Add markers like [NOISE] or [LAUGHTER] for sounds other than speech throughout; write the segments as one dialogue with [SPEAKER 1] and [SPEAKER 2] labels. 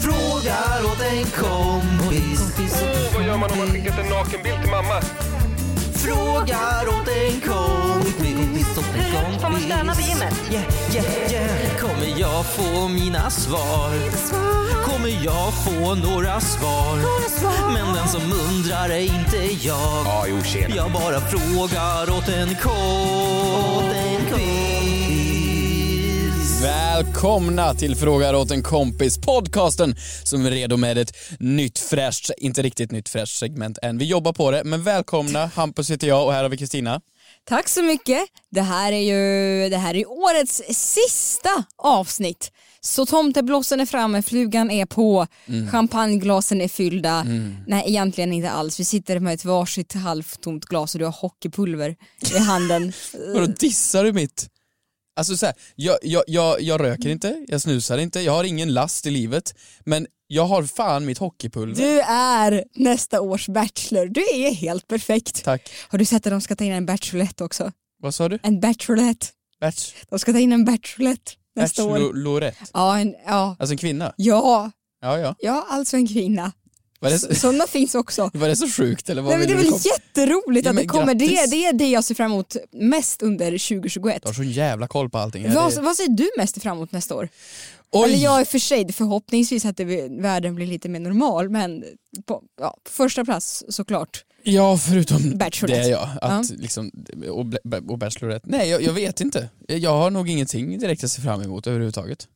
[SPEAKER 1] Frågar åt en kompis.
[SPEAKER 2] Vad gör man om man skickat en nakenbild till mamma?
[SPEAKER 1] Frågar åt en kompis.
[SPEAKER 3] Får man stöna på gymmet?
[SPEAKER 1] Yeah, yeah, yeah. Kommer jag få mina svar? Kommer jag få några svar? Men den som undrar är inte jag.
[SPEAKER 2] Ja, jo, tjena.
[SPEAKER 1] Jag bara frågar åt en kompis.
[SPEAKER 4] Välkomna till Frågar åt en kompis podcasten som är redo med ett nytt fräscht, inte riktigt nytt fräscht segment än. Vi jobbar på det, men välkomna. Hampus heter jag och här har vi Kristina.
[SPEAKER 5] Tack så mycket. Det här är ju det här är ju årets sista avsnitt. Så tomteblossen är framme, flugan är på,
[SPEAKER 4] Mm.
[SPEAKER 5] champagneglasen är fyllda. Nej, egentligen inte alls. Vi sitter med ett varsitt halvtomt glas och du har hockeypulver i
[SPEAKER 4] [LAUGHS]
[SPEAKER 5] handen.
[SPEAKER 4] Vadå dissar du mitt? Alltså så här, jag, jag, jag, jag röker inte, jag snusar inte, jag har ingen last i livet, men jag har fan mitt hockeypulver.
[SPEAKER 5] Du är nästa års bachelor. Du är helt perfekt.
[SPEAKER 4] Tack.
[SPEAKER 5] Har du sett att de ska ta in en bachelorette också?
[SPEAKER 4] Vad sa du?
[SPEAKER 5] En bachelorette.
[SPEAKER 4] Bach,
[SPEAKER 5] De ska ta in en bachelorette nästa år.
[SPEAKER 4] bachelorette?
[SPEAKER 5] Ja, en, ja.
[SPEAKER 4] Alltså en kvinna?
[SPEAKER 5] ja,
[SPEAKER 4] Ja, ja.
[SPEAKER 5] ja, alltså en kvinna.
[SPEAKER 4] Var det,
[SPEAKER 5] Så-
[SPEAKER 4] så- [LAUGHS]
[SPEAKER 5] Sådana finns också.
[SPEAKER 4] var det så sjukt eller? Vad
[SPEAKER 5] Nej, men det
[SPEAKER 4] ville
[SPEAKER 5] är
[SPEAKER 4] du
[SPEAKER 5] väl
[SPEAKER 4] komma-
[SPEAKER 5] jätteroligt
[SPEAKER 4] Ja,
[SPEAKER 5] att
[SPEAKER 4] men
[SPEAKER 5] det kommer. Det, är-
[SPEAKER 4] grattis.
[SPEAKER 5] det är det jag ser fram emot mest under 2021.
[SPEAKER 4] Du har så jävla koll på allting. Ja,
[SPEAKER 5] Vad,
[SPEAKER 4] det-
[SPEAKER 5] vad ser du mest fram emot nästa år?
[SPEAKER 4] Oj.
[SPEAKER 5] Eller jag är för sig, förhoppningsvis att det, blir- världen blir lite mer normal men på, ja, på första plats såklart.
[SPEAKER 4] Ja, förutom
[SPEAKER 5] Bachelorette.
[SPEAKER 4] det ja. Att, liksom, och, bla- och Bachelorette. Nej, jag, jag vet inte. Jag har nog ingenting direkt jag ser fram emot överhuvudtaget.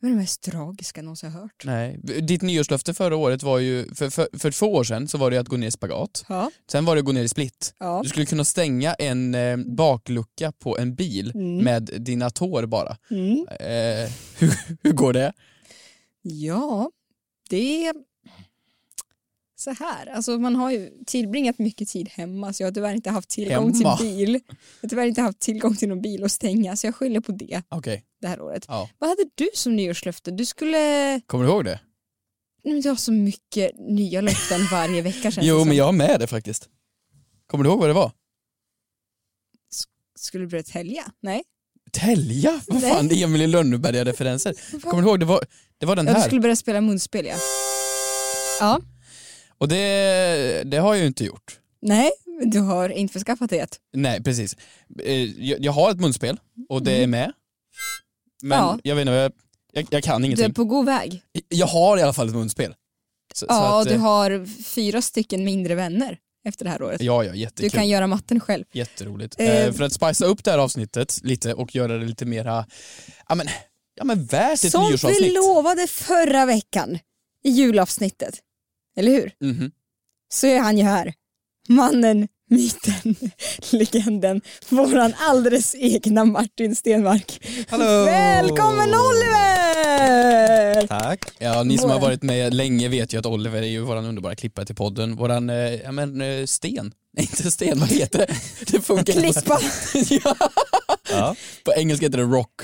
[SPEAKER 5] Det är det mest tragiska jag någonsin har hört.
[SPEAKER 4] Nej. Ditt nyårslöfte förra året var ju, för, för, för två år sedan så var det ju att gå ner i spagat.
[SPEAKER 5] Ja.
[SPEAKER 4] Sen var det att gå ner i split.
[SPEAKER 5] Ja.
[SPEAKER 4] Du skulle kunna stänga en eh, baklucka på en bil med dina tår bara. Eh, hur, hur går det?
[SPEAKER 5] ja, det är så här. Alltså man har ju tillbringat mycket tid hemma så jag har tyvärr inte haft tillgång
[SPEAKER 4] Hemma?
[SPEAKER 5] till bil. Jag har tyvärr inte haft tillgång till någon bil att stänga så jag skyller på det
[SPEAKER 4] Okej,
[SPEAKER 5] det här året.
[SPEAKER 4] ja.
[SPEAKER 5] Vad hade du som nyårslöfte? Du skulle...
[SPEAKER 4] Kommer du ihåg det?
[SPEAKER 5] Nej, men Jag har så mycket
[SPEAKER 4] [LAUGHS]
[SPEAKER 5] nya löften varje vecka känns det
[SPEAKER 4] Jo,
[SPEAKER 5] som.
[SPEAKER 4] men jag har med det faktiskt. Kommer du ihåg vad det var?
[SPEAKER 5] Skulle du börja tälja? Nej.
[SPEAKER 4] Tälja? Vad
[SPEAKER 5] Nej.
[SPEAKER 4] fan, det är Emil i
[SPEAKER 5] [LAUGHS]
[SPEAKER 4] Lönneberga-referenser. Kommer du ihåg, det var, det var den
[SPEAKER 5] Ja, du
[SPEAKER 4] här.
[SPEAKER 5] skulle börja spela munspel ja. Ja.
[SPEAKER 4] Och det, det har jag ju inte gjort.
[SPEAKER 5] Nej, du har införskaffat det.
[SPEAKER 4] Nej, precis. Eh, Jag, jag har ett munspel och det är med. Men
[SPEAKER 5] Mhm. Ja.
[SPEAKER 4] jag vet inte, vad jag, jag, jag kan
[SPEAKER 5] Du är
[SPEAKER 4] ingenting.
[SPEAKER 5] på god väg.
[SPEAKER 4] Jag har i alla fall ett munspel. Så, så
[SPEAKER 5] Ja,
[SPEAKER 4] att,
[SPEAKER 5] och du
[SPEAKER 4] eh,
[SPEAKER 5] har fyra stycken mindre vänner efter det här året.
[SPEAKER 4] Ja, ja,
[SPEAKER 5] Du
[SPEAKER 4] jättekul.
[SPEAKER 5] kan göra matten själv.
[SPEAKER 4] Jätteroligt.
[SPEAKER 5] Eh,
[SPEAKER 4] Eh, för att spicea upp det här avsnittet lite och göra det lite mera, ja men, ja, men värt ett
[SPEAKER 5] Som vi
[SPEAKER 4] nyårsavsnitt.
[SPEAKER 5] lovade förra veckan i julavsnittet. Eller hur?
[SPEAKER 4] Mhm.
[SPEAKER 5] så är han ju här. Mannen, myten, [LAUGHS] legenden, våran alldeles egna Martin Stenmark.
[SPEAKER 6] Hallå!
[SPEAKER 5] Välkommen Oliver!
[SPEAKER 6] Tack.
[SPEAKER 4] Ja, ni som har
[SPEAKER 5] Våran-
[SPEAKER 4] varit med länge vet ju att Oliver är ju våran underbara klippare till podden. Våran, eh, ja men eh, Sten. [LAUGHS] Nej inte Sten, vad heter det? Det funkar inte.
[SPEAKER 5] Klippa.
[SPEAKER 4] [LAUGHS] ja.
[SPEAKER 6] Ja.
[SPEAKER 4] På engelska heter det rock.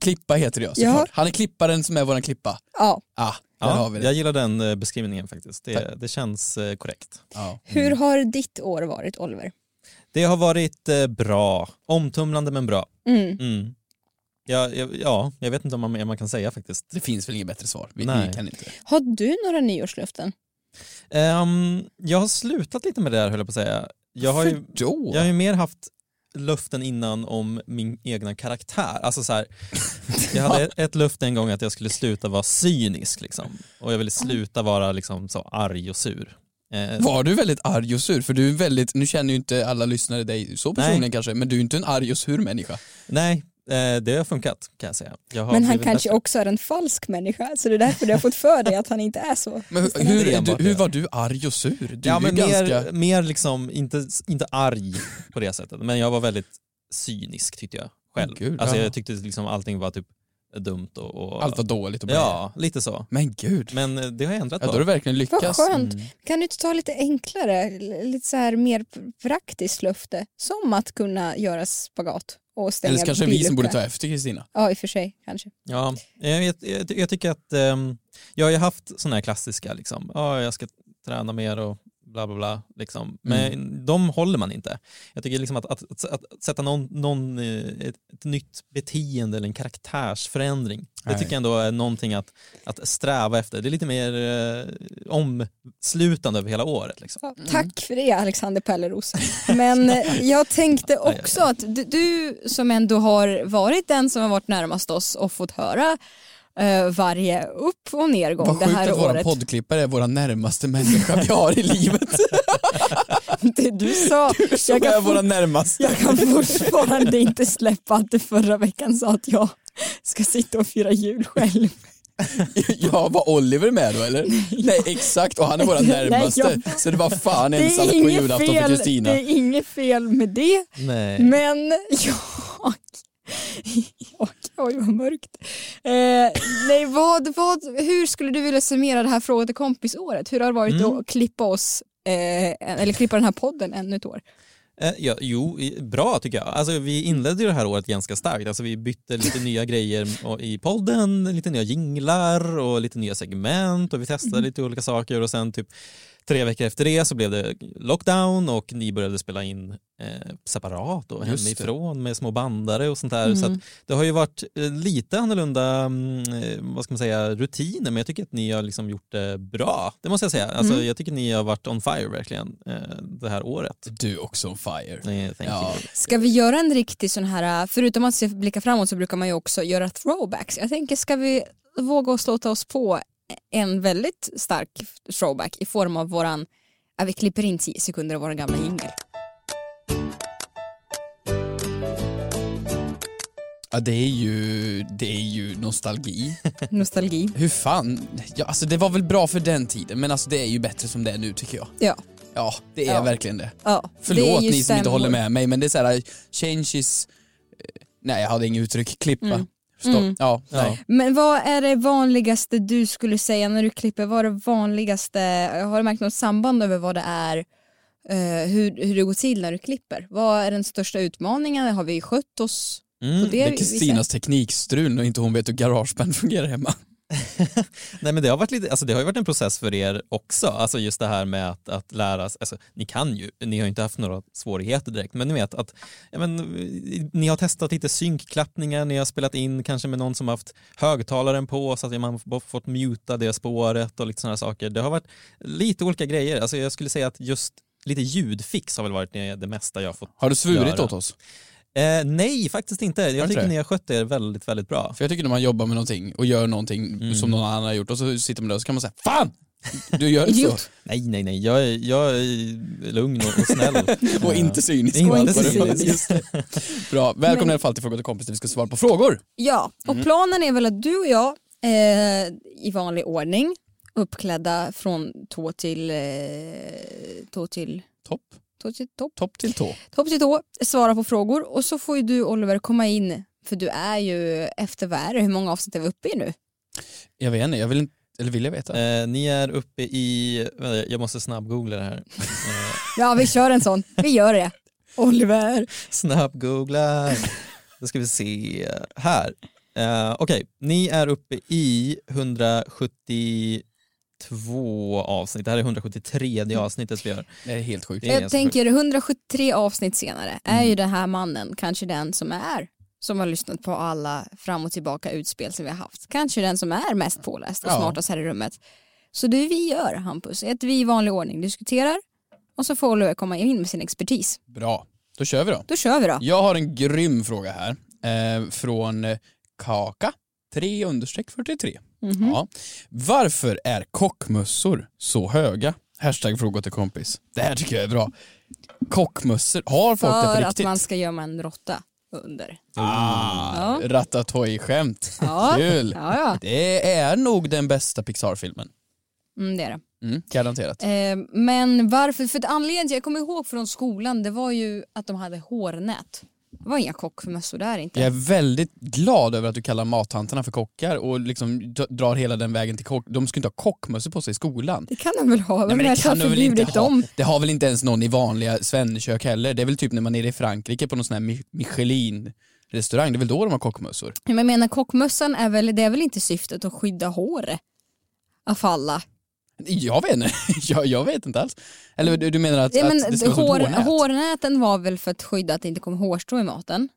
[SPEAKER 4] Klippa heter det ja, såklart. Han är klipparen som är våran klippa.
[SPEAKER 5] Ja,
[SPEAKER 4] Ah, där har
[SPEAKER 6] Ja,
[SPEAKER 4] vi
[SPEAKER 6] jag
[SPEAKER 4] det.
[SPEAKER 6] gillar den eh, beskrivningen faktiskt. Det, det känns eh, korrekt.
[SPEAKER 4] Ja.
[SPEAKER 5] hur har ditt år varit Oliver?
[SPEAKER 6] Det har varit eh, bra. Omtumlande men bra.
[SPEAKER 5] Mm.
[SPEAKER 6] Mm. Ja, ja, ja, jag vet inte om man, man kan säga faktiskt.
[SPEAKER 4] Det finns väl inget bättre svar. Vi, vi
[SPEAKER 6] Nej.
[SPEAKER 4] kan inte.
[SPEAKER 5] Har du några nyårslöften?
[SPEAKER 6] Ehm, jag har slutat lite med det där höll jag på att säga. Jag har ju,
[SPEAKER 4] För då?
[SPEAKER 6] jag har ju mer haft löften innan om min egna karaktär. Alltså så
[SPEAKER 4] [LAUGHS]
[SPEAKER 6] här, jag hade ett, ett löfte en gång att jag skulle sluta vara cynisk liksom. Och jag ville sluta vara liksom så arg och sur. Eh,
[SPEAKER 4] Var du väldigt arg och sur? För du är väldigt, nu känner ju inte alla lyssnare dig så personligen kanske, men du är ju inte en arg och sur människa.
[SPEAKER 6] nej, eh, det har funkat kan jag säga. Jag har
[SPEAKER 5] Men han
[SPEAKER 6] blivit
[SPEAKER 5] kanske
[SPEAKER 6] bättre.
[SPEAKER 5] också är en falsk människa så det är därför du har fått för dig att han inte är så.
[SPEAKER 4] Men hur,
[SPEAKER 6] är
[SPEAKER 4] hur, är
[SPEAKER 6] enbart
[SPEAKER 4] du, hur
[SPEAKER 6] det.
[SPEAKER 4] var du arg och sur? Du
[SPEAKER 6] ja,
[SPEAKER 4] är ju
[SPEAKER 6] men
[SPEAKER 4] ganska...
[SPEAKER 6] mer, mer liksom, inte, inte arg på det sättet, men jag var väldigt cynisk tyckte jag själv.
[SPEAKER 4] Gud,
[SPEAKER 6] alltså
[SPEAKER 4] ja.
[SPEAKER 6] jag tyckte liksom allting var typ dumt och... och
[SPEAKER 4] Allt var dåligt och bra.
[SPEAKER 6] Ja, lite så.
[SPEAKER 4] Men gud.
[SPEAKER 6] Men eh, det har jag ändrat
[SPEAKER 4] Ja, då Mm.
[SPEAKER 6] på.
[SPEAKER 4] har du verkligen
[SPEAKER 5] Vad
[SPEAKER 4] lyckats.
[SPEAKER 5] skönt. Kan du inte ta lite enklare, l- lite så här mer p- praktiskt löfte? Som att kunna göra spagat och stänga
[SPEAKER 4] Eller så kanske det är vi som borde ta
[SPEAKER 5] billuckan.
[SPEAKER 4] efter Kristina.
[SPEAKER 5] Ja, i och för sig. Kanske.
[SPEAKER 6] Ja, eh, jag, vet- jag, ty- jag tycker att ehm, jag har ju haft sådana här klassiska, liksom, ja jag ska träna mer och bla bla bla, liksom. men de håller man inte. Jag tycker liksom att, att, att, att sätta någon, någon, eh, ett, ett nytt beteende eller en karaktärsförändring, det
[SPEAKER 4] Nej.
[SPEAKER 6] tycker jag ändå är någonting att, att sträva efter. Det är lite mer eh, omslutande över hela året. Liksom.
[SPEAKER 5] Ja,
[SPEAKER 4] Mm.
[SPEAKER 5] Tack för det
[SPEAKER 4] [LAUGHS]
[SPEAKER 5] Alexander Pelleros. Men eh, jag tänkte också att du, du som ändå har varit den som har varit närmast oss och fått höra eh, varje upp och nedgång
[SPEAKER 4] Vad
[SPEAKER 5] det
[SPEAKER 4] sjukt
[SPEAKER 5] här
[SPEAKER 4] att våran
[SPEAKER 5] året.
[SPEAKER 4] poddklippare är våra närmaste människa vi har i livet.
[SPEAKER 5] [LAUGHS] Det du
[SPEAKER 4] [LAUGHS]
[SPEAKER 5] sa, [LAUGHS] jag
[SPEAKER 4] Som är
[SPEAKER 5] kan,
[SPEAKER 4] våra
[SPEAKER 5] fort,
[SPEAKER 4] närmaste.
[SPEAKER 5] jag kan fortfarande inte släppa att du förra veckan sa att jag ska sitta och fira jul själv.
[SPEAKER 4] [LAUGHS] Ja, var Oliver med då
[SPEAKER 5] [LAUGHS]
[SPEAKER 4] eller? Nej exakt, och han är våra
[SPEAKER 5] Nej,
[SPEAKER 4] närmaste.
[SPEAKER 5] jag-
[SPEAKER 4] Så det var fan
[SPEAKER 5] [LAUGHS] Det
[SPEAKER 4] ensamt
[SPEAKER 5] är,
[SPEAKER 4] på
[SPEAKER 5] inget
[SPEAKER 4] julafton för
[SPEAKER 5] fel,
[SPEAKER 4] Kristina.
[SPEAKER 5] det är inget fel med det,
[SPEAKER 6] Nej.
[SPEAKER 5] men jag... jag oj vad mörkt. Eh, nej, vad, vad, hur skulle du vilja summera det här Fråga till kompisåret? Hur har det varit
[SPEAKER 6] Mm.
[SPEAKER 5] att klippa oss eh, eller klippa den här podden ännu ett år?
[SPEAKER 6] Eh, Ja, jo, i- bra tycker jag. Alltså, vi inledde ju det här året ganska starkt. Alltså, vi bytte lite nya grejer och- i podden, lite nya jinglar och lite nya segment och vi testade
[SPEAKER 4] Mm.
[SPEAKER 6] lite olika saker och sen typ tre veckor efter det så blev det lockdown och ni började spela in eh, separat och
[SPEAKER 4] Just det. Mm.
[SPEAKER 6] hemifrån med små bandare och sånt där. Så att det har ju varit eh, lite annorlunda mm, eh, vad ska man säga, rutiner men jag tycker att ni har liksom gjort det bra. Det måste jag säga. Alltså,
[SPEAKER 4] Mm.
[SPEAKER 6] Jag tycker ni har varit on fire verkligen eh, det här året.
[SPEAKER 4] Du också on fire.
[SPEAKER 6] Eh, thank you.
[SPEAKER 4] Ja,
[SPEAKER 5] Ska vi göra en riktig sån här, eh, förutom att se- blicka framåt så brukar man ju också göra throwbacks. Jag tänker, ska vi våga oss låta oss på en väldigt stark throwback i form av våran, ja, vi klipper in 10 sekunder av våran gamla jingel.
[SPEAKER 4] ja det, är ju, det är ju nostalgi.
[SPEAKER 5] Nostalgi.
[SPEAKER 4] Hur fan, ja, alltså det var väl bra för den tiden men alltså det är ju bättre som det är nu tycker jag.
[SPEAKER 5] Ja.
[SPEAKER 4] Ja, det är
[SPEAKER 5] Ja.
[SPEAKER 4] verkligen det.
[SPEAKER 5] ja det är
[SPEAKER 4] Förlåt
[SPEAKER 5] ju
[SPEAKER 4] ni som inte
[SPEAKER 5] stämmor.
[SPEAKER 4] håller med mig men det är så här change is... eh, Nej jag hade inget uttryck, klippa.
[SPEAKER 5] Mm.
[SPEAKER 4] Stopp.
[SPEAKER 5] Mm.
[SPEAKER 4] Ja,
[SPEAKER 6] Ja.
[SPEAKER 4] nej.
[SPEAKER 5] Men vad är det vanligaste du skulle säga när du klipper? Vad är det vanligaste, har du märkt något samband över vad det är, eh, hur, hur det går till när du klipper? Vad är den största utmaningen? Har vi skött oss?
[SPEAKER 6] Mm,
[SPEAKER 5] på
[SPEAKER 4] Det
[SPEAKER 5] vi-
[SPEAKER 4] är
[SPEAKER 5] vi
[SPEAKER 4] Kristinas teknikstrul och inte hon vet hur garageband [LAUGHS] fungerar hemma.
[SPEAKER 6] Nej men det har, varit lite, alltså det har ju varit en process för er också, alltså just det här med att, att lära sig, alltså ni kan ju, ni har ju inte haft några svårigheter direkt, men ni vet att ja, men, eh, ni har testat lite synkklappningar, ni har spelat in kanske med någon som haft högtalaren på så att man har fått muta det spåret och lite sådana saker. Det har varit lite olika grejer, alltså jag skulle säga att just lite ljudfix har väl varit det det mesta jag har fått.
[SPEAKER 4] Har du svurit
[SPEAKER 6] Göra.
[SPEAKER 4] åt oss?
[SPEAKER 6] Eh, nej, faktiskt inte.
[SPEAKER 4] inte
[SPEAKER 6] Jag tycker
[SPEAKER 4] det?
[SPEAKER 6] ni har skött er väldigt, väldigt bra.
[SPEAKER 4] För jag tycker när man jobbar med någonting och gör någonting som någon annan har gjort och så sitter man där och så kan man säga FAN! Du gör inte så.
[SPEAKER 5] Idiot.
[SPEAKER 6] Nej, nej, nej, jag är, jag är lugn och, och snäll.
[SPEAKER 4] [LAUGHS] [LAUGHS] Och
[SPEAKER 6] Eh,
[SPEAKER 4] inte cynisk.
[SPEAKER 6] Inte
[SPEAKER 4] Och allt vad
[SPEAKER 6] cynisk.
[SPEAKER 4] det var. Just det. Bra, välkomna i alla fall till Fråga till kompis där vi ska svara på frågor.
[SPEAKER 5] Ja, och
[SPEAKER 4] Mm.
[SPEAKER 5] planen är väl att du och jag eh, i vanlig ordning uppklädda från tå till, eh, tå till
[SPEAKER 4] Topp,
[SPEAKER 5] tå till topp,
[SPEAKER 4] topp till tå.
[SPEAKER 5] topp till tå, svara på frågor och så får ju du Oliver komma in för du är ju efter vad är det, hur många avsnitt är vi uppe i nu?
[SPEAKER 4] Jag vet inte, jag vill inte, eller vill jag veta?
[SPEAKER 6] Eh, ni är uppe i, vänta, jag måste snabbgoogla det här. Eh,
[SPEAKER 5] Ja vi kör en sån, vi gör det. Oliver.
[SPEAKER 6] snabbgoogla, då ska vi se, här. Eh, Okej, ni är uppe i 172 avsnitt, det här är 173 avsnittet vi gör.
[SPEAKER 4] Det är helt sjukt.
[SPEAKER 6] Det är
[SPEAKER 5] Jag
[SPEAKER 6] ganska
[SPEAKER 5] tänker 173 avsnitt senare är ju den här mannen kanske den som är som har lyssnat på alla fram och tillbaka utspel som vi har haft. Kanske den som är mest påläst och
[SPEAKER 4] Ja.
[SPEAKER 5] smartast här i rummet. Så det vi gör Hampus är att vi i vanlig ordning diskuterar och så får Oliver komma in med sin expertis.
[SPEAKER 4] Bra, då kör vi då.
[SPEAKER 5] Då kör vi då.
[SPEAKER 4] Jag har en grym fråga här eh, från eh, Kaka 3 understreck 43.
[SPEAKER 5] Mhm.
[SPEAKER 4] Ja. Varför är kockmössor så höga? Hashtag fråga till kompis. Det här tycker jag är bra. Kockmössor, har folk det
[SPEAKER 5] För
[SPEAKER 4] på
[SPEAKER 5] att
[SPEAKER 4] riktigt?
[SPEAKER 5] man ska gömma en råtta under.
[SPEAKER 4] Ah,
[SPEAKER 5] Ja.
[SPEAKER 4] Ratatouille-skämt.
[SPEAKER 5] Ja.
[SPEAKER 4] Kul.
[SPEAKER 5] Ja, ja.
[SPEAKER 4] Det är nog den bästa Pixar-filmen.
[SPEAKER 5] Mm, det är det.
[SPEAKER 4] Mm, garanterat.
[SPEAKER 5] Eh, men varför? För att anledningen, jag kommer ihåg från skolan, det var ju att de hade hårnät. Det var inga kockmössor där inte.
[SPEAKER 4] Jag är väldigt glad över att du kallar mattanterna för kockar och liksom d- drar hela den vägen till kock. De skulle inte ha kockmössor på sig i skolan.
[SPEAKER 5] Det kan de väl ha? Vem är det som har
[SPEAKER 4] de väl inte
[SPEAKER 5] förbjudit
[SPEAKER 4] ha?
[SPEAKER 5] dem?
[SPEAKER 4] Det har väl inte ens någon i vanliga svennekök heller. Det är väl typ när man är i Frankrike på någon sån här Mi- Michelin-restaurang, det är väl då de har kockmössor.
[SPEAKER 5] Ja, Men jag menar kockmössan är väl, det är väl inte syftet att skydda hår? Av alla.
[SPEAKER 4] Jag vet inte, [LAUGHS] jag, jag vet inte alls. Eller du, du menar att,
[SPEAKER 5] Ja, men
[SPEAKER 4] att det ska vara som ett
[SPEAKER 5] hår,
[SPEAKER 4] hårnät?
[SPEAKER 5] hårnäten var väl för att skydda att det inte kom hårstrå i maten?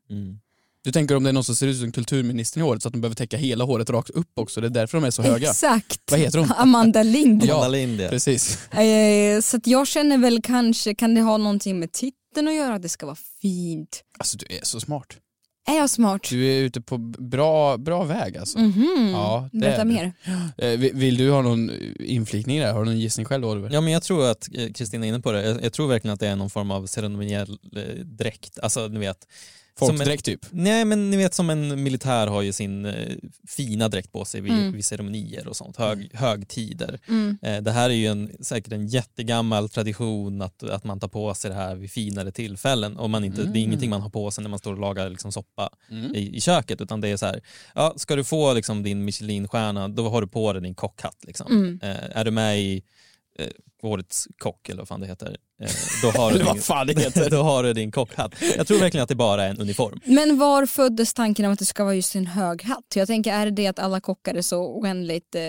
[SPEAKER 4] Du tänker om det är någon som ser ut som kulturministern i håret så att de behöver täcka hela håret rakt upp också, det är därför de är så höga.
[SPEAKER 5] Exakt.
[SPEAKER 4] Vad heter hon?
[SPEAKER 5] Amanda Lind.
[SPEAKER 4] Ja.
[SPEAKER 6] Amanda Lind, ja.
[SPEAKER 4] Precis.
[SPEAKER 5] Eh, så att jag känner väl kanske, kan det ha någonting med titeln att göra? Att det ska vara fint.
[SPEAKER 4] Alltså du är så smart.
[SPEAKER 5] Är jag smart?
[SPEAKER 4] Du är ute på bra, bra väg alltså.
[SPEAKER 5] Mhm.
[SPEAKER 4] Ja, det
[SPEAKER 5] Berätta
[SPEAKER 4] är du.
[SPEAKER 5] mer.
[SPEAKER 4] Eh, vill- Vill du ha någon inflikning där? Har du någon gissning själv Oliver?
[SPEAKER 6] Ja men jag tror att eh, Kristina är inne på det. Jag, jag tror verkligen att det är någon form av ceremoniell eh, dräkt. Alltså ni vet. som en,
[SPEAKER 4] Folkdräkt typ.
[SPEAKER 6] nej men ni vet som en militär har ju sin eh, fina dräkt på sig vid, vid ceremonier och sånt. Hög, Högtider. Eh, det här är ju en, säkert en jättegammal tradition att, att man tar på sig det här vid finare tillfällen. Och man inte, Det är ingenting man har på sig när man står och lagar liksom, soppa
[SPEAKER 4] Mm.
[SPEAKER 6] i, i köket utan det är så här, ja, ska du få liksom, din Michelinstjärna då har du på dig din kockhatt. Liksom. Eh, är du med i eh, årets kock eller vad fan det heter, eh, då,
[SPEAKER 4] [LAUGHS]
[SPEAKER 6] har du
[SPEAKER 4] Eller vad
[SPEAKER 6] din, [LAUGHS]
[SPEAKER 4] fan det heter.
[SPEAKER 6] då har du din kockhatt. Jag tror verkligen att det bara är en uniform.
[SPEAKER 5] Men var föddes tanken om att det ska vara just en hög hatt? Jag tänker, är det det att alla kockar är så oändligt eh,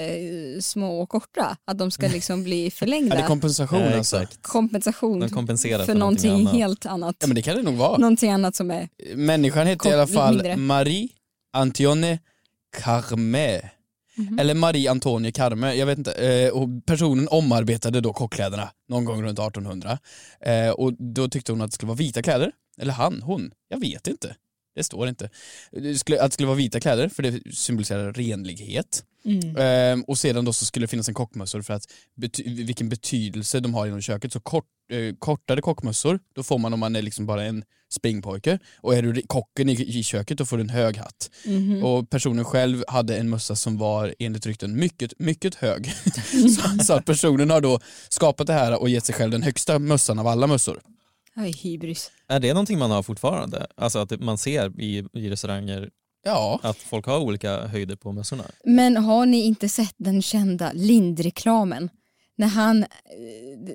[SPEAKER 5] små och korta? Att
[SPEAKER 4] [LAUGHS]
[SPEAKER 5] de ska liksom bli
[SPEAKER 4] Är
[SPEAKER 5] förlängda?
[SPEAKER 4] det kompensation
[SPEAKER 6] Eh,
[SPEAKER 4] alltså?
[SPEAKER 6] exakt.
[SPEAKER 5] kompensation
[SPEAKER 6] De
[SPEAKER 4] Mm.
[SPEAKER 6] kompenserar
[SPEAKER 5] för,
[SPEAKER 6] för
[SPEAKER 5] någonting,
[SPEAKER 6] någonting annat.
[SPEAKER 5] helt annat.
[SPEAKER 4] Ja men det kan det nog vara.
[SPEAKER 5] Någonting annat som är...
[SPEAKER 4] Människan heter i
[SPEAKER 5] Kort-
[SPEAKER 4] alla fall
[SPEAKER 5] mindre.
[SPEAKER 4] Marie Antionne Carme. Eller Marie Antonie Carme, jag vet inte. Eh, Och personen omarbetade då kockkläderna någon gång runt 1800. Eh, Och då tyckte hon att det skulle vara vita kläder. Eller han, hon, jag vet inte. Det står inte. Det skulle, att det skulle vara vita kläder för det symboliserar renlighet.
[SPEAKER 5] Mm.
[SPEAKER 4] Ehm, och sedan då så skulle det finnas en kockmössor för att bety- vilken betydelse de har inom köket. Så kort, eh, kortare kockmössor, då får man om man är liksom bara en springpojke. Och är du ri- kocken i, i köket då får du en hög hatt.
[SPEAKER 5] Mhm.
[SPEAKER 4] Och personen själv hade en mössa som var enligt rykten mycket, mycket
[SPEAKER 5] [LAUGHS]
[SPEAKER 4] hög. [LAUGHS] så, så att personen har då skapat det här och gett sig själv den högsta mössan av alla mössor.
[SPEAKER 5] Aj, hybris.
[SPEAKER 6] Är det någonting man har fortfarande? Alltså att det- man ser i, i restauranger
[SPEAKER 4] Ja,
[SPEAKER 6] att folk har olika höjder på mössorna?
[SPEAKER 5] Men har ni inte sett den kända Lind-reklamen? När han, eh,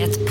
[SPEAKER 7] Ett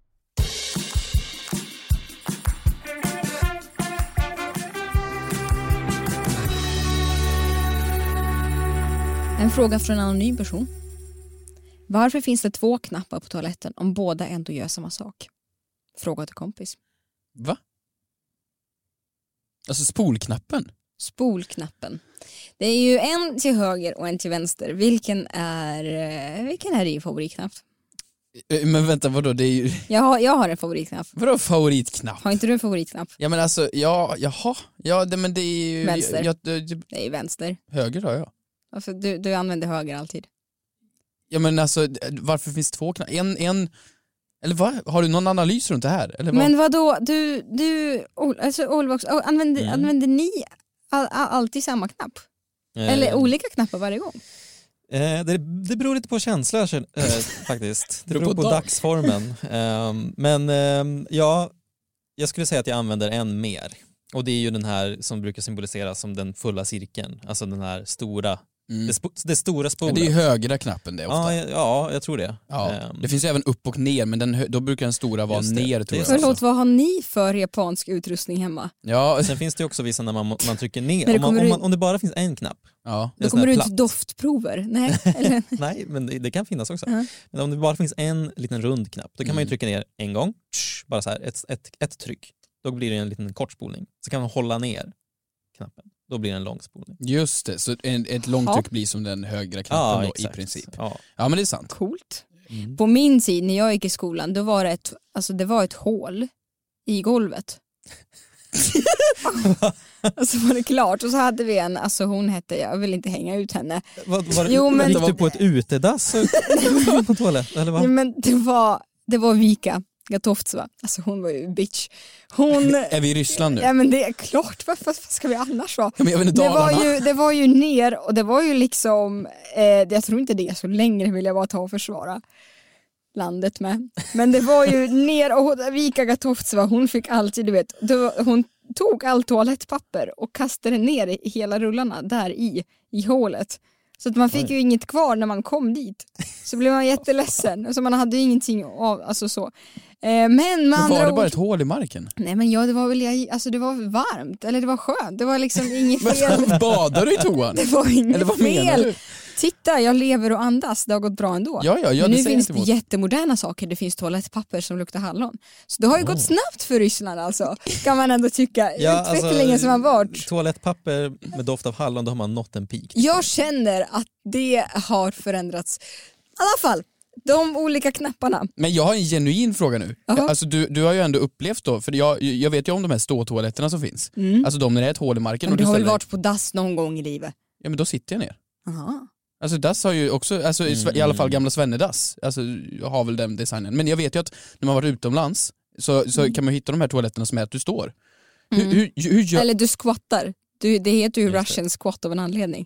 [SPEAKER 5] En fråga från en anonym person. Varför finns det två knappar på toaletten om båda ändå gör samma sak? Fråga till kompis.
[SPEAKER 4] Va? Alltså spolknappen?
[SPEAKER 5] Spolknappen. Det är ju en till höger och en till vänster. Vilken är, eh, vilken är din favoritknapp?
[SPEAKER 4] Eh, Men vänta, vadå? Det är ju...
[SPEAKER 5] Jag har, jag har en favoritknapp.
[SPEAKER 4] Vadå favoritknapp?
[SPEAKER 5] Har inte du en favoritknapp?
[SPEAKER 4] Ja men alltså, ja, jaha. Ja, det, men det är ju...
[SPEAKER 5] Vänster.
[SPEAKER 4] Jag, jag,
[SPEAKER 5] Det är ju vänster.
[SPEAKER 4] höger har jag.
[SPEAKER 5] Alltså, du, du använder höger alltid.
[SPEAKER 4] Ja men alltså, d- varför finns två knappar? En, en... Eller vad? Har du någon analys runt det här? Eller vad?
[SPEAKER 5] Men vad då? du, du, Ol- alltså Olbox, oh, använder,
[SPEAKER 4] Mm.
[SPEAKER 5] använder ni all, all, alltid samma knapp? Eller
[SPEAKER 6] Eh,
[SPEAKER 5] olika knappar varje gång?
[SPEAKER 4] Alltså.
[SPEAKER 6] Eh, det, det beror lite på känsla
[SPEAKER 4] [LAUGHS]
[SPEAKER 6] eh, faktiskt. Det
[SPEAKER 4] Beror
[SPEAKER 6] beror
[SPEAKER 4] på
[SPEAKER 6] på
[SPEAKER 4] dag.
[SPEAKER 6] dagsformen. Ehm, men ehm, ja, jag skulle säga att jag använder en mer. Och det är ju den här som brukar symboliseras som den fulla cirkeln. Alltså den här stora, det, spo, det stora
[SPEAKER 4] Ja,
[SPEAKER 6] spolet.
[SPEAKER 4] Mm. det är ju högra knappen det ofta.
[SPEAKER 6] ja, jag- ja, jag tror det.
[SPEAKER 4] Ja.
[SPEAKER 6] Ehm,
[SPEAKER 4] Det finns ju även upp och ner, men den, hö- då brukar den stora vara
[SPEAKER 6] Just det.
[SPEAKER 4] ner tror
[SPEAKER 6] Det är
[SPEAKER 4] jag.
[SPEAKER 6] så.
[SPEAKER 5] Förlåt, vad har ni för japansk utrustning hemma?
[SPEAKER 4] Ja.
[SPEAKER 6] Sen finns det ju också vissa när man, må- man trycker ner.
[SPEAKER 5] Men det
[SPEAKER 6] Om, man,
[SPEAKER 5] kommer
[SPEAKER 6] om,
[SPEAKER 5] ut-
[SPEAKER 6] man, om det bara finns en
[SPEAKER 5] [LAUGHS]
[SPEAKER 6] knapp.
[SPEAKER 4] [LAUGHS] Ja.
[SPEAKER 5] Då kommer du ut doftprover?
[SPEAKER 4] [LAUGHS]
[SPEAKER 5] Nej, eller?
[SPEAKER 6] Nej, men det, det kan finnas också.
[SPEAKER 5] Ja.
[SPEAKER 6] Men om det bara finns en liten rund knapp, då kan
[SPEAKER 4] Mm.
[SPEAKER 6] man ju trycka ner en gång, tsch, bara så här, ett, ett, ett tryck. Då blir det en liten kort spolning. Så kan man hålla ner knappen, då blir det en lång spolning.
[SPEAKER 4] Just det, så en, ett långt
[SPEAKER 5] Ja.
[SPEAKER 4] tryck blir som den högra knappen då, i
[SPEAKER 6] exakt.
[SPEAKER 4] princip.
[SPEAKER 6] Ja.
[SPEAKER 4] Ja men det är sant.
[SPEAKER 5] Coolt.
[SPEAKER 4] Mm.
[SPEAKER 5] På min tid när jag gick i skolan, då var det ett, alltså det var ett hål
[SPEAKER 4] [LAUGHS]
[SPEAKER 5] i golvet. och så var det klart och så hade vi en, alltså hon hette, jag vill inte hänga ut henne.
[SPEAKER 6] Vad, var det,
[SPEAKER 5] Jo, men-
[SPEAKER 6] Gick du på ett
[SPEAKER 5] [LAUGHS]
[SPEAKER 6] utedass [LAUGHS] och- på toaletten? Eller
[SPEAKER 5] Ja,
[SPEAKER 6] vad?
[SPEAKER 5] men det var, det var Vika Gatovtseva, alltså hon var ju bitch. [LAUGHS] Hon,
[SPEAKER 4] Är vi i Ryssland nu?
[SPEAKER 5] ja men det är klart, vad, vad ska vi annars vara?
[SPEAKER 4] Ja, men jag vet inte,
[SPEAKER 5] det, var
[SPEAKER 4] Dalarna.
[SPEAKER 5] ju, det var ju ner och det var ju liksom, eh, jag tror inte det är så längre vill jag bara ta och försvara landet med. Men det var
[SPEAKER 4] [LAUGHS]
[SPEAKER 5] ju ner och hon- Vika Gatovtseva hon fick alltid, du vet, det var, hon tog allt toalettpapper och kastade ner i hela rullarna där i, i hålet. Så att man fick ju inget kvar när man kom dit. Så blev man jätteledsen. Alltså man hade ju ingenting av, alltså så. Eh, men med
[SPEAKER 4] Men
[SPEAKER 5] andra
[SPEAKER 4] var det
[SPEAKER 5] ord...
[SPEAKER 4] bara ett hål i marken?
[SPEAKER 5] Nej men ja, det var väl, jag, alltså det var varmt, eller det var skönt, det var liksom inget fel.
[SPEAKER 4] Badar du i toan?
[SPEAKER 5] [LAUGHS] Det var inget
[SPEAKER 4] Eller vad menar
[SPEAKER 5] fel.
[SPEAKER 4] du?
[SPEAKER 5] Titta, jag lever och andas, det har gått bra ändå.
[SPEAKER 4] Ja, ja, ja,
[SPEAKER 5] men
[SPEAKER 4] det
[SPEAKER 5] nu
[SPEAKER 4] säger jag
[SPEAKER 5] finns
[SPEAKER 4] inte
[SPEAKER 5] det
[SPEAKER 4] emot.
[SPEAKER 5] jättemoderna saker, det finns toalettpapper som luktar hallon. Så det har ju
[SPEAKER 4] Oh.
[SPEAKER 5] gått snabbt för Ryssland alltså, kan man
[SPEAKER 4] [LAUGHS]
[SPEAKER 5] ändå tycka.
[SPEAKER 6] Ja,
[SPEAKER 5] Utvecklingen
[SPEAKER 6] alltså,
[SPEAKER 5] som har varit.
[SPEAKER 6] Toalettpapper med doft av hallon, då har man nått en peak.
[SPEAKER 5] Jag känner att det har förändrats. I alla fall, de olika knapparna.
[SPEAKER 4] Men jag har en genuin fråga nu.
[SPEAKER 5] Jaha.
[SPEAKER 4] Alltså du, du har ju ändå upplevt då, för jag, jag vet ju om de här ståtoaletterna som finns.
[SPEAKER 5] Mm.
[SPEAKER 4] Alltså de när det är ett hål i marken.
[SPEAKER 5] Men
[SPEAKER 4] och
[SPEAKER 5] du
[SPEAKER 4] du
[SPEAKER 5] har väl
[SPEAKER 4] ställer-
[SPEAKER 5] varit på dass någon gång i livet?
[SPEAKER 4] Ja men då sitter jag ner.
[SPEAKER 5] Aha.
[SPEAKER 4] Alltså Dass har ju också, alltså, i Sve- i alla fall
[SPEAKER 6] Mm.
[SPEAKER 4] gamla Svenne-Dass, alltså, har väl den designen. Men jag vet ju att när man varit utomlands så,
[SPEAKER 6] Mm.
[SPEAKER 4] så kan man hitta de här toaletterna som är att du står. Hur, hur, hur gör...
[SPEAKER 5] Mm. Eller du squattar. Du, det heter ju russian squat av en anledning.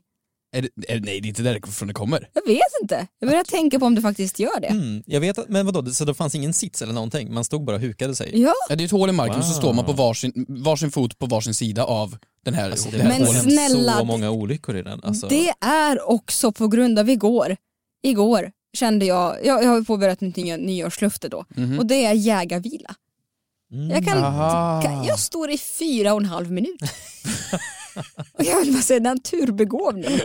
[SPEAKER 4] Är det, är, nej det är inte därifrån det kommer.
[SPEAKER 5] Jag vet inte. Jag börjar tänka på om du faktiskt gör det.
[SPEAKER 6] Mm, jag vet att, men vadå, det- så det fanns ingen sits eller någonting? Man stod bara och hukade sig?
[SPEAKER 5] Ja.
[SPEAKER 4] Ja, det är ett hål i marken och så
[SPEAKER 6] Wow.
[SPEAKER 4] står man på varsin, varsin fot på varsin sida av den här,
[SPEAKER 6] Alltså,
[SPEAKER 4] det
[SPEAKER 6] det
[SPEAKER 4] här
[SPEAKER 5] Men
[SPEAKER 4] hålet.
[SPEAKER 6] har hänt
[SPEAKER 5] snälla,
[SPEAKER 6] så många olyckor i den. Alltså.
[SPEAKER 5] Det är också på grund av igår. Igår kände jag, jag, jag har ju påbörjat mitt nya nyårslöfte då
[SPEAKER 6] Mhm.
[SPEAKER 5] och det är jägarvila. Jag, kan,
[SPEAKER 4] Mm. Aha.
[SPEAKER 5] kan, jag står i fyra och en halv minut. [LAUGHS] och jag vill bara säga naturbegåvning.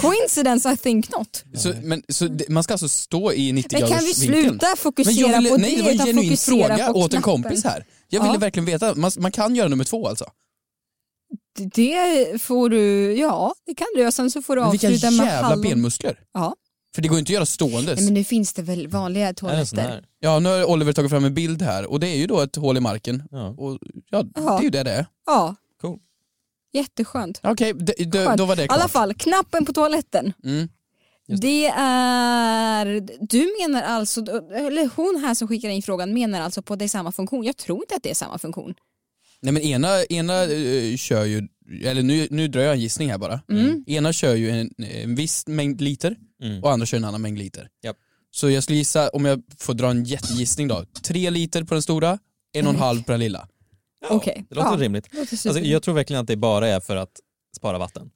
[SPEAKER 5] Coincidence I think not.
[SPEAKER 4] Så, men, så det, man ska alltså stå i 90
[SPEAKER 5] Men
[SPEAKER 4] graders
[SPEAKER 5] kan vi sluta fokusera
[SPEAKER 4] men jag ville,
[SPEAKER 5] på
[SPEAKER 4] nej,
[SPEAKER 5] det
[SPEAKER 4] det? var en
[SPEAKER 5] utan
[SPEAKER 4] genuin
[SPEAKER 5] fokusera
[SPEAKER 4] fråga
[SPEAKER 5] på
[SPEAKER 4] åt en
[SPEAKER 5] knappen?
[SPEAKER 4] kompis här. Jag ville
[SPEAKER 5] Ja.
[SPEAKER 4] verkligen veta, man, man kan göra nummer två alltså?
[SPEAKER 5] Det får du, ja det kan du. Och sen så får du
[SPEAKER 4] Men vilka
[SPEAKER 5] avsluta med
[SPEAKER 4] jävla
[SPEAKER 5] hallon.
[SPEAKER 4] benmuskler.
[SPEAKER 5] Ja.
[SPEAKER 4] För det går ju inte att göra ståendes.
[SPEAKER 5] Nej, men nu finns det väl vanliga
[SPEAKER 6] Är det en sån
[SPEAKER 5] toaletter.
[SPEAKER 6] här?
[SPEAKER 4] Ja, nu har Oliver tagit fram en bild här och det är ju då ett hål i marken. Och, ja, det är ju det det är.
[SPEAKER 5] Ja,
[SPEAKER 6] Cool. Eh,
[SPEAKER 5] jätteskönt.
[SPEAKER 4] Okej, d- d-
[SPEAKER 5] Skönt.
[SPEAKER 4] då var det
[SPEAKER 5] I
[SPEAKER 4] klart.
[SPEAKER 5] alla fall, knappen på toaletten.
[SPEAKER 4] Mm.
[SPEAKER 5] Det är, du menar alltså, eller hon här som skickar in frågan menar alltså på att det är samma funktion. Jag tror inte att det är samma funktion.
[SPEAKER 4] Nej men ena, ena eh, kör ju, eller nu, nu drar jag en gissning här bara.
[SPEAKER 5] Mm.
[SPEAKER 4] Ena kör ju en, en viss mängd liter och andra kör en annan mängd liter.
[SPEAKER 6] Japp.
[SPEAKER 4] Så jag skulle gissa, om jag får dra en jättegissning då, tre liter på den stora, en och en halv på den lilla.
[SPEAKER 5] Okej.
[SPEAKER 6] Det låter
[SPEAKER 5] Ja.
[SPEAKER 6] rimligt.
[SPEAKER 5] Det låter
[SPEAKER 6] Alltså,
[SPEAKER 5] superrimligt.
[SPEAKER 6] jag tror verkligen att det bara är för att spara vatten.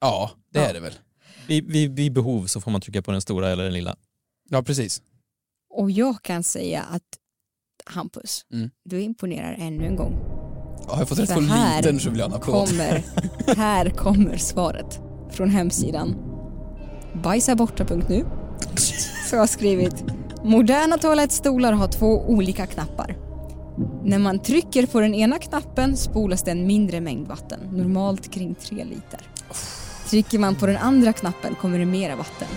[SPEAKER 4] Ja, det är det väl.
[SPEAKER 6] Vid, vid, vid behov så får man trycka på den stora eller den lilla.
[SPEAKER 4] Ja precis.
[SPEAKER 5] Och jag kan säga att Hampus,
[SPEAKER 4] Mm.
[SPEAKER 5] du imponerar ännu en gång.
[SPEAKER 4] Ja, har jag fått rätt
[SPEAKER 5] Så
[SPEAKER 4] på
[SPEAKER 5] här
[SPEAKER 4] litern så vill jag ha en applåd.
[SPEAKER 5] kommer, här kommer svaret från hemsidan. Bajsaborta.nu så har jag skrivit Moderna toalettstolar har två olika knappar. När man trycker på den ena knappen spolas det en mindre mängd vatten, normalt kring 3 liter. Trycker man på den andra knappen kommer det mera vatten.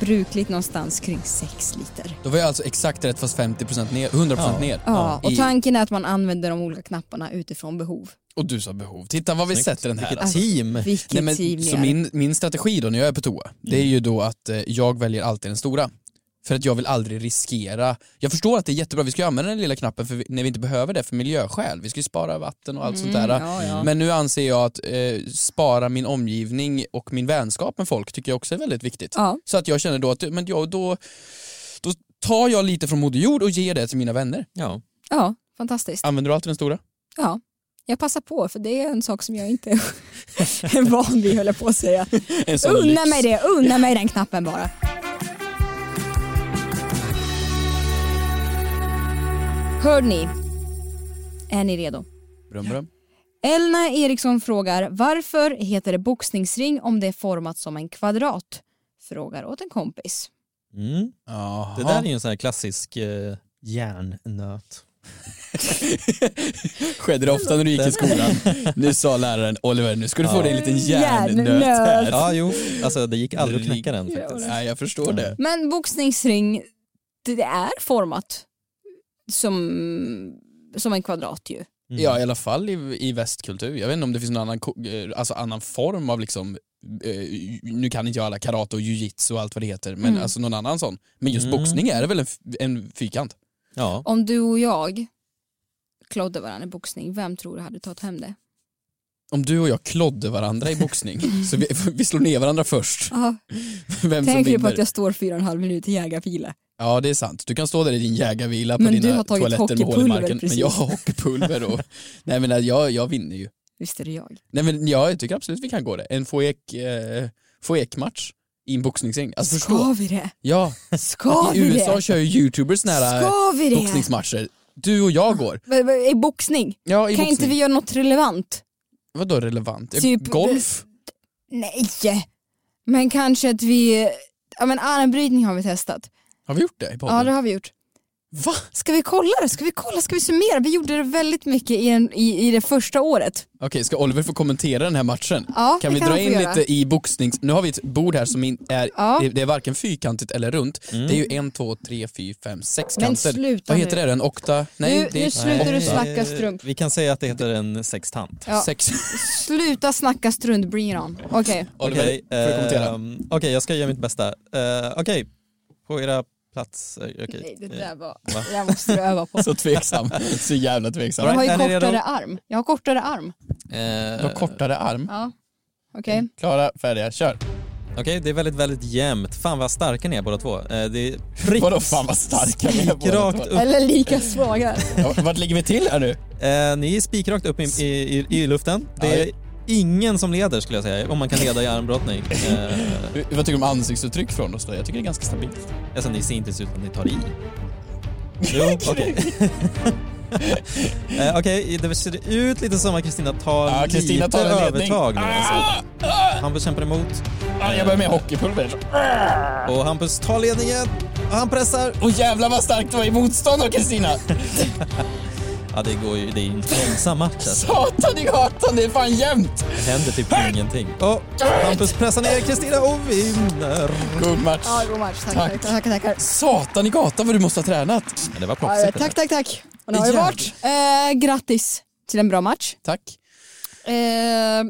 [SPEAKER 5] brukligt någonstans kring 6 liter.
[SPEAKER 4] Då var jag alltså exakt rätt fast 50% ner, 100% ner.
[SPEAKER 5] Ja, och
[SPEAKER 4] I-
[SPEAKER 5] tanken är att man använder de olika knapparna utifrån behov.
[SPEAKER 4] Och du sa behov. Titta vad vi sätter den här.
[SPEAKER 5] Vilket team. Vilket
[SPEAKER 4] Nej, men,
[SPEAKER 5] team ni
[SPEAKER 4] så
[SPEAKER 5] är. Mm.
[SPEAKER 4] min, min strategi då när jag är på toa, det är ju då att eh, jag väljer alltid den stora. För att jag vill aldrig riskera. Jag förstår att det är jättebra, vi ska ju använda den lilla knappen för vi, när vi inte behöver det för miljöskäl. Vi ska ju spara vatten och allt
[SPEAKER 8] Mm,
[SPEAKER 4] sånt där.
[SPEAKER 8] ja, ja.
[SPEAKER 4] Men nu anser jag att eh, spara min omgivning och min vänskap med folk tycker jag också är väldigt viktigt.
[SPEAKER 5] Ja.
[SPEAKER 4] Så att jag känner då att men jag, då, då tar jag lite från Moder Jord och ger det till mina vänner.
[SPEAKER 5] Ja, fantastiskt.
[SPEAKER 4] Använder du alltid den stora?
[SPEAKER 5] Ja, jag passar på för det är en sak som jag inte [LAUGHS] är van vid höll jag på att säga.
[SPEAKER 4] En sån
[SPEAKER 5] Unna
[SPEAKER 4] lyx.
[SPEAKER 5] mig det, unna mig den knappen bara. Hör ni? Är ni redo?
[SPEAKER 4] Brum, brum.
[SPEAKER 5] Elna Eriksson frågar varför heter det boxningsring om det är format som en kvadrat? Frågar åt en kompis.
[SPEAKER 6] Mm. Det där är ju en sån här klassisk eh, järnnöt.
[SPEAKER 4] Skedde det ofta när du gick i skolan? Nu sa läraren Oliver, nu ska du få dig en liten järnnöt här.
[SPEAKER 6] Ja, jo. Alltså det gick aldrig att knäcka den faktiskt.
[SPEAKER 4] Nej, jag förstår det.
[SPEAKER 5] Men boxningsring, det det är format som, som en kvadrat ju.
[SPEAKER 6] Mm.
[SPEAKER 4] Ja, i alla fall i, i västkultur. Jag vet inte om det finns någon annan, ko- eh, alltså annan form av liksom eh, nu kan inte jag alla karate och jujitsu och allt vad det heter, men
[SPEAKER 5] Mm.
[SPEAKER 4] alltså någon annan sån. Men just
[SPEAKER 5] Mm.
[SPEAKER 4] boxning är det väl en, f- en fyrkant?
[SPEAKER 6] Ja.
[SPEAKER 5] Om du och jag klodde varandra i boxning, vem tror du hade tagit hem det?
[SPEAKER 4] Om du och jag klodde varandra i
[SPEAKER 5] [LAUGHS]
[SPEAKER 4] boxning, så vi, vi slår ner varandra först.
[SPEAKER 5] Ja.
[SPEAKER 4] Vem som
[SPEAKER 5] Tänk ju på
[SPEAKER 4] vinner.
[SPEAKER 5] att jag står fyra och en halv minut i jägarfile.
[SPEAKER 4] Ja, det är sant. Du kan stå där i din jägarvila på
[SPEAKER 5] Men du
[SPEAKER 4] dina
[SPEAKER 5] har tagit
[SPEAKER 4] toaletter med hål i
[SPEAKER 5] hockeypulver
[SPEAKER 4] marken. Men
[SPEAKER 5] precis.
[SPEAKER 4] jag har hockeypulver
[SPEAKER 5] [LAUGHS]
[SPEAKER 4] och... Nej men jag, jag vinner ju.
[SPEAKER 5] Visst är det jag.
[SPEAKER 4] Nej men ja, jag tycker absolut vi kan gå det. En foek, eh, foekmatch i en boxningsring. Alltså
[SPEAKER 5] Ska
[SPEAKER 4] förstå. [LAUGHS]
[SPEAKER 5] vi det?
[SPEAKER 4] Ja.
[SPEAKER 5] Ska
[SPEAKER 4] I
[SPEAKER 5] vi
[SPEAKER 4] USA
[SPEAKER 5] det?
[SPEAKER 4] kör ju youtubers nära
[SPEAKER 5] Ska vi det?
[SPEAKER 4] boxningsmatcher. Du och jag går.
[SPEAKER 5] Men- men I boxning?
[SPEAKER 4] Ja, i
[SPEAKER 5] kan inte
[SPEAKER 4] boxning.
[SPEAKER 5] vi göra något relevant?
[SPEAKER 4] Vadå relevant? Eh,
[SPEAKER 5] Typ-
[SPEAKER 4] Golf?
[SPEAKER 5] Nej! Men kanske att vi... Ja men armbrytning har vi testat.
[SPEAKER 4] Har vi gjort det i podden?
[SPEAKER 5] Ja det har vi gjort.
[SPEAKER 4] Va?
[SPEAKER 5] Ska vi kolla det? Ska vi kolla? Ska vi summera? Vi gjorde det väldigt mycket i, den, i, i det första året.
[SPEAKER 4] Okej, ska Oliver få kommentera den här matchen?
[SPEAKER 5] Ja,
[SPEAKER 4] kan
[SPEAKER 5] det
[SPEAKER 4] vi
[SPEAKER 5] kan
[SPEAKER 4] dra
[SPEAKER 5] han få
[SPEAKER 4] in
[SPEAKER 5] göra.
[SPEAKER 4] lite i boxnings... Nu har vi ett bord här som in- är,
[SPEAKER 5] Ja.
[SPEAKER 4] det, det är varken fyrkantigt eller runt. Det är ju en, två, tre, fyra, fem, sex
[SPEAKER 5] Men
[SPEAKER 4] kanter.
[SPEAKER 5] sluta
[SPEAKER 4] Vad heter
[SPEAKER 5] nu.
[SPEAKER 4] det? En okta? Nej,
[SPEAKER 5] Nu-
[SPEAKER 4] det är
[SPEAKER 5] nu slutar du
[SPEAKER 4] åtta.
[SPEAKER 5] snacka strunt.
[SPEAKER 6] eh, Vi kan säga att det heter en sextant.
[SPEAKER 5] Ja. [LAUGHS] Sluta snacka strunt, bring it on. Okej.
[SPEAKER 6] Oliver, Okej,
[SPEAKER 4] får du kommentera?
[SPEAKER 6] ehm, okej, jag ska göra mitt bästa. Eh, Okej, på era platser. Okej.
[SPEAKER 5] Nej, det där var...
[SPEAKER 6] Va?
[SPEAKER 5] Det där måste du öva
[SPEAKER 4] [LAUGHS]
[SPEAKER 5] på.
[SPEAKER 4] Så tveksam. Så jävla tveksam.
[SPEAKER 5] [LAUGHS] Jag har ju
[SPEAKER 4] Är ni redo?
[SPEAKER 5] kortare arm. Jag har kortare arm.
[SPEAKER 6] Eh,
[SPEAKER 4] Du har kortare arm.
[SPEAKER 5] Ja. Okej.
[SPEAKER 4] Klara, färdiga, kör.
[SPEAKER 6] Okej, det är väldigt, väldigt jämnt. Fan vad starka ni är båda två. Eh, det är prick,
[SPEAKER 4] Vadå fan vad starka vi är båda
[SPEAKER 6] Spikrakt
[SPEAKER 4] två.
[SPEAKER 6] upp.
[SPEAKER 5] Eller lika svaga.
[SPEAKER 4] Ja, Vart ligger vi till här nu?
[SPEAKER 6] Eh, ni är spikrakt upp i, i, i, i luften. Det är
[SPEAKER 4] Aj.
[SPEAKER 6] ingen som leder skulle jag säga, om man kan leda i armbrottning. Eh,
[SPEAKER 4] Vad tycker du om ansiktsuttryck från oss då? Jag tycker det är ganska stabilt.
[SPEAKER 6] alltså ni ser inte ens ut som ni tar i. Jo,
[SPEAKER 4] [LAUGHS]
[SPEAKER 6] okej. Eh, Okej, det ser ut lite som att Kristina tar
[SPEAKER 4] Ja, Kristina
[SPEAKER 6] lite
[SPEAKER 4] tar en ledning.
[SPEAKER 6] övertag nu. Alltså. Hampus kämpar emot.
[SPEAKER 4] Ah, jag börjar med hockeypulver.
[SPEAKER 6] Och Hampus tar ledningen. Och Han pressar.
[SPEAKER 4] Och jävlar vad starkt du var i motstånd då Kristina!
[SPEAKER 6] Ja, det går ju, det är ju en långsam match alltså.
[SPEAKER 4] Satan i gatan, det är fan jämnt!
[SPEAKER 6] Det händer typ ingenting. Och Hampus pressar ner Kristina och vinner.
[SPEAKER 4] God match.
[SPEAKER 5] Ja, god match. Tack,
[SPEAKER 4] Tack.
[SPEAKER 5] tackar, tackar, tackar.
[SPEAKER 4] Satan i gatan vad du måste ha tränat.
[SPEAKER 6] Ja, det var
[SPEAKER 5] Ja, tack, tack, tack. Och det har ju varit. Eh, grattis till en bra match.
[SPEAKER 4] Tack.
[SPEAKER 5] Eh,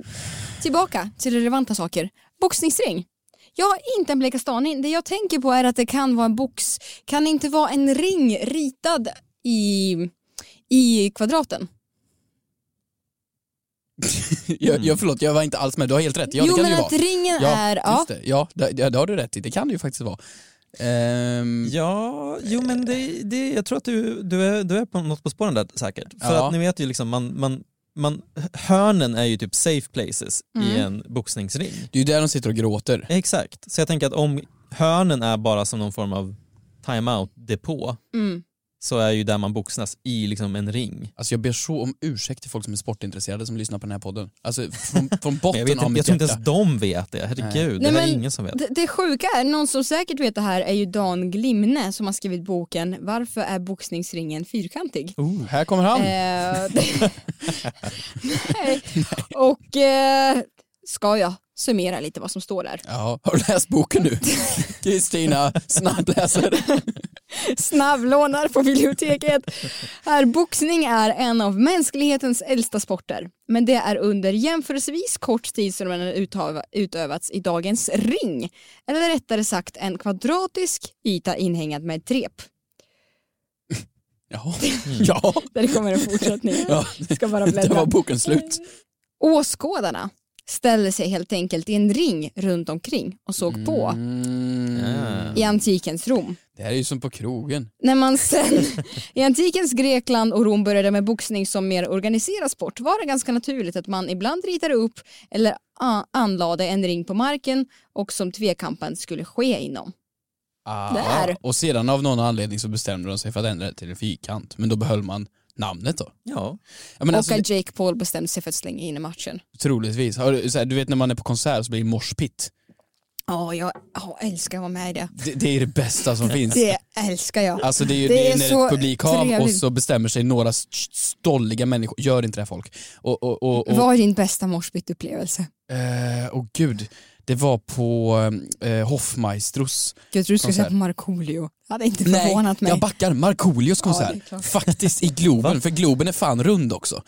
[SPEAKER 5] tillbaka till relevanta saker. Boxningsring. Jag har inte en blekaste aning. Det jag tänker på är att det kan vara en box. Kan det inte vara en ring ritad i, i kvadraten?
[SPEAKER 4] Jag,
[SPEAKER 6] Mm.
[SPEAKER 4] jag, förlåt, jag var inte alls med. Du har helt rätt. Ja,
[SPEAKER 5] Jo,
[SPEAKER 4] det kan
[SPEAKER 5] men
[SPEAKER 4] det ju
[SPEAKER 5] att
[SPEAKER 4] vara.
[SPEAKER 5] ringen
[SPEAKER 4] ja,
[SPEAKER 5] är- ja.
[SPEAKER 4] Just det. Ja, det, det, det har du rätt i. Det kan det ju faktiskt vara. Ehm,
[SPEAKER 6] Ja, jo men det, det, jag tror att du, du, är, du är på något på spåren där säkert. För
[SPEAKER 4] Ja.
[SPEAKER 6] att ni vet ju liksom, man, man, man, hörnen är ju typ safe places i
[SPEAKER 4] Mm.
[SPEAKER 6] en boxningsring.
[SPEAKER 4] Det är ju där de sitter och gråter.
[SPEAKER 6] Exakt, så jag tänker att om hörnen är bara som någon form av timeout-depå
[SPEAKER 5] Mm.
[SPEAKER 6] så är ju där man boxas i liksom en ring.
[SPEAKER 4] Alltså jag ber så om ursäkt till folk som är sportintresserade som lyssnar på den här podden. Alltså
[SPEAKER 6] [LAUGHS]
[SPEAKER 4] från, från botten
[SPEAKER 6] Men jag vet
[SPEAKER 4] av
[SPEAKER 6] inte,
[SPEAKER 4] mitt
[SPEAKER 6] jag tror inte
[SPEAKER 4] hjärta.
[SPEAKER 6] ens de vet det, herregud, det här är
[SPEAKER 5] men
[SPEAKER 6] ingen som vet.
[SPEAKER 5] Det, det sjuka är, någon som säkert vet det här är ju Dan Glimne som har skrivit boken Varför är boxningsringen fyrkantig?
[SPEAKER 4] Oh, här
[SPEAKER 6] Eh.
[SPEAKER 4] [LAUGHS]
[SPEAKER 5] [LAUGHS]
[SPEAKER 4] kommer han.
[SPEAKER 5] Eh, Nej. Och eh, ska jag summera lite vad som står där.
[SPEAKER 4] Ja, har du läst
[SPEAKER 6] [LAUGHS]
[SPEAKER 4] boken nu? Kristina snabbläser.
[SPEAKER 5] Snabblånar på biblioteket. Här, boxning är en av mänsklighetens äldsta sporter. Men det är under jämförelsevis kort tid som den har utöva- utövats i dagens ring. Eller rättare sagt en kvadratisk yta inhängad med ett rep.
[SPEAKER 4] Ja.
[SPEAKER 6] Mm.
[SPEAKER 4] ja.
[SPEAKER 5] Där kommer en fortsättning.
[SPEAKER 4] [LAUGHS] Ja.
[SPEAKER 5] Ska bara
[SPEAKER 4] Där
[SPEAKER 5] bläddra.
[SPEAKER 4] var boken slut.
[SPEAKER 5] Åskådarna ställde sig helt enkelt i en ring runt omkring och såg på
[SPEAKER 4] Mm.
[SPEAKER 6] Mm. Ah,
[SPEAKER 5] i antikens Rom.
[SPEAKER 4] Det här är ju som på krogen.
[SPEAKER 5] När man sen [LAUGHS] i antikens Grekland och Rom började med boxning som mer organiserad sport var det ganska naturligt att man ibland ritade upp eller a- anlade en ring på marken och som tvekampen skulle ske inom.
[SPEAKER 4] Ah.
[SPEAKER 5] Där.
[SPEAKER 4] Och sedan av någon anledning så bestämde de sig för att ändra det till en fyrkant. Men då behöll man namnet då.
[SPEAKER 6] Ja.
[SPEAKER 4] men
[SPEAKER 5] och
[SPEAKER 4] alltså,
[SPEAKER 5] att Jake Paul bestämde sig för att slänga in i matchen.
[SPEAKER 4] Troligtvis. Har du- så här, Du vet när man är på konsert så blir det morspitt.
[SPEAKER 5] Ja, jag ja, älskar att vara med i det.
[SPEAKER 4] Det, det är det bästa som finns.
[SPEAKER 5] [LAUGHS] Det älskar jag.
[SPEAKER 4] Alltså det är ju det är när
[SPEAKER 5] så
[SPEAKER 4] ett publikhav och
[SPEAKER 5] trevligt.
[SPEAKER 4] så bestämmer sig några st- stolliga människor, gör inte det här folk. Och, och, och, och,
[SPEAKER 5] Vad är din bästa morsbytupplevelse?
[SPEAKER 4] eh, åh gud, det var på eh, Hoffmaestros
[SPEAKER 5] Jag tror du skulle
[SPEAKER 4] konsert.
[SPEAKER 5] säga på Markoolio. Det hade inte
[SPEAKER 4] Nej,
[SPEAKER 5] förvånat mig.
[SPEAKER 4] jag backar. Markoolios
[SPEAKER 5] Ja, det
[SPEAKER 4] konsert.
[SPEAKER 5] är klart.
[SPEAKER 4] Faktiskt i Globen, för Globen är fan rund också.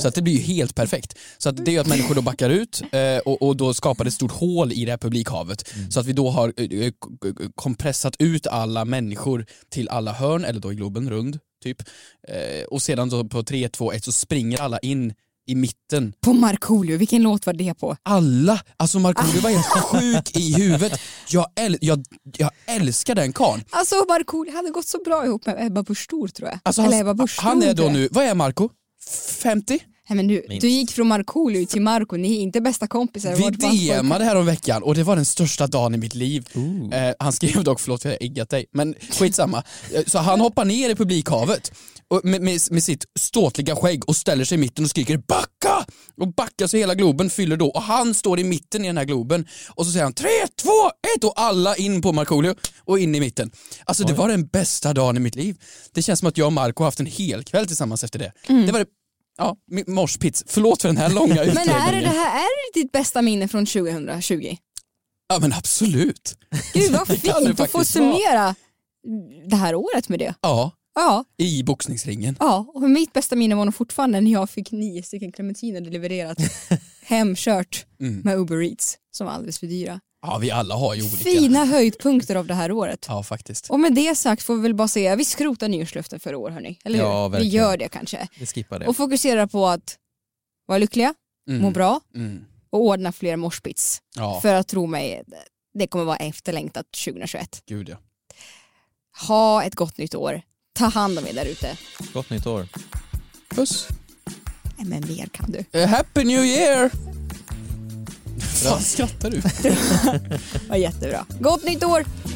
[SPEAKER 4] så att det blir ju helt perfekt. Så att det är ju att människor då backar ut eh, och, och då skapar det ett stort hål i det här publikhavet. Så att vi då har eh, eh, k- k- kompressat ut alla människor till alla hörn, eller då i Globen rund, typ. Eh, och sedan då på 3, 2, 1 så springer alla in i mitten
[SPEAKER 5] På Markoolio, vilken låt var det på?
[SPEAKER 4] alla, alltså Markoolio var
[SPEAKER 5] [LAUGHS]
[SPEAKER 4] helt sjuk i huvudet. Jag, äl- jag, jag älskar den karln.
[SPEAKER 5] Alltså Markoolio hade gått så bra ihop med Ebba Busch Thor tror jag.
[SPEAKER 4] Alltså
[SPEAKER 5] Eller Ebba
[SPEAKER 4] han,
[SPEAKER 5] Busch
[SPEAKER 4] han
[SPEAKER 5] Thor,
[SPEAKER 4] är då
[SPEAKER 5] tror jag.
[SPEAKER 4] nu, vad är Marco? 50?
[SPEAKER 5] Nej, men du,
[SPEAKER 4] Minst.
[SPEAKER 5] du gick från Markoolio till Marco, ni är inte bästa kompisar.
[SPEAKER 4] Vi
[SPEAKER 5] Vart var folk-
[SPEAKER 4] DMade här om veckan och det var den största dagen i mitt liv. Eh, han skrev dock, förlåt jag har eggat dig, men skitsamma. Eh, Så han hoppar ner i publikhavet och med, med, med sitt ståtliga skägg och ställer sig i mitten och skriker backa! Och backar så hela Globen fyller då och han står i mitten i den här Globen och så säger han tre, två, ett och alla in på Markoolio och in i mitten. Alltså det var den bästa dagen i mitt liv. Det känns som att jag och Marco har haft en hel kväll tillsammans efter det. Det var det, ja, min- morspits. Förlåt för den här långa
[SPEAKER 5] Mm. Men
[SPEAKER 4] utläggningen.
[SPEAKER 5] är det, det här är det ditt bästa minne
[SPEAKER 4] [LAUGHS]
[SPEAKER 5] från 2020?
[SPEAKER 4] Ja men absolut.
[SPEAKER 5] Gud vad
[SPEAKER 4] Det kan det
[SPEAKER 5] fint att få
[SPEAKER 4] faktiskt vara.
[SPEAKER 5] summera det här året med det.
[SPEAKER 4] Ja,
[SPEAKER 5] Ja,
[SPEAKER 4] i boxningsringen.
[SPEAKER 5] ja, och mitt bästa minne var nog fortfarande när jag fick nio stycken
[SPEAKER 4] [LAUGHS]
[SPEAKER 5] clementiner levererat hemkört
[SPEAKER 4] Mm.
[SPEAKER 5] med Uber Eats som var alldeles för dyra.
[SPEAKER 4] Ja vi alla har ju olika.
[SPEAKER 5] Fina höjdpunkter av det här året.
[SPEAKER 4] Ja faktiskt.
[SPEAKER 5] Och med det sagt får vi väl bara säga, vi skrotar nyårslöften för i år hörni, eller hur?
[SPEAKER 6] Ja,
[SPEAKER 5] vi
[SPEAKER 6] verkligen.
[SPEAKER 5] gör det kanske.
[SPEAKER 6] Vi skippar det.
[SPEAKER 5] Och fokuserar på att vara lyckliga, må bra
[SPEAKER 4] Mm.
[SPEAKER 5] och ordna fler morspits.
[SPEAKER 4] Ja.
[SPEAKER 5] För att tro mig, det kommer vara efterlängtat 2021.
[SPEAKER 4] Gud ja.
[SPEAKER 5] Ha ett gott nytt år. Ta hand om er där ute.
[SPEAKER 6] Gott nytt år.
[SPEAKER 4] Puss.
[SPEAKER 5] Nej, Men mer kan du.
[SPEAKER 4] Eh, happy new year! Fan skrattar du?
[SPEAKER 5] Det var jättebra. Gott nytt år!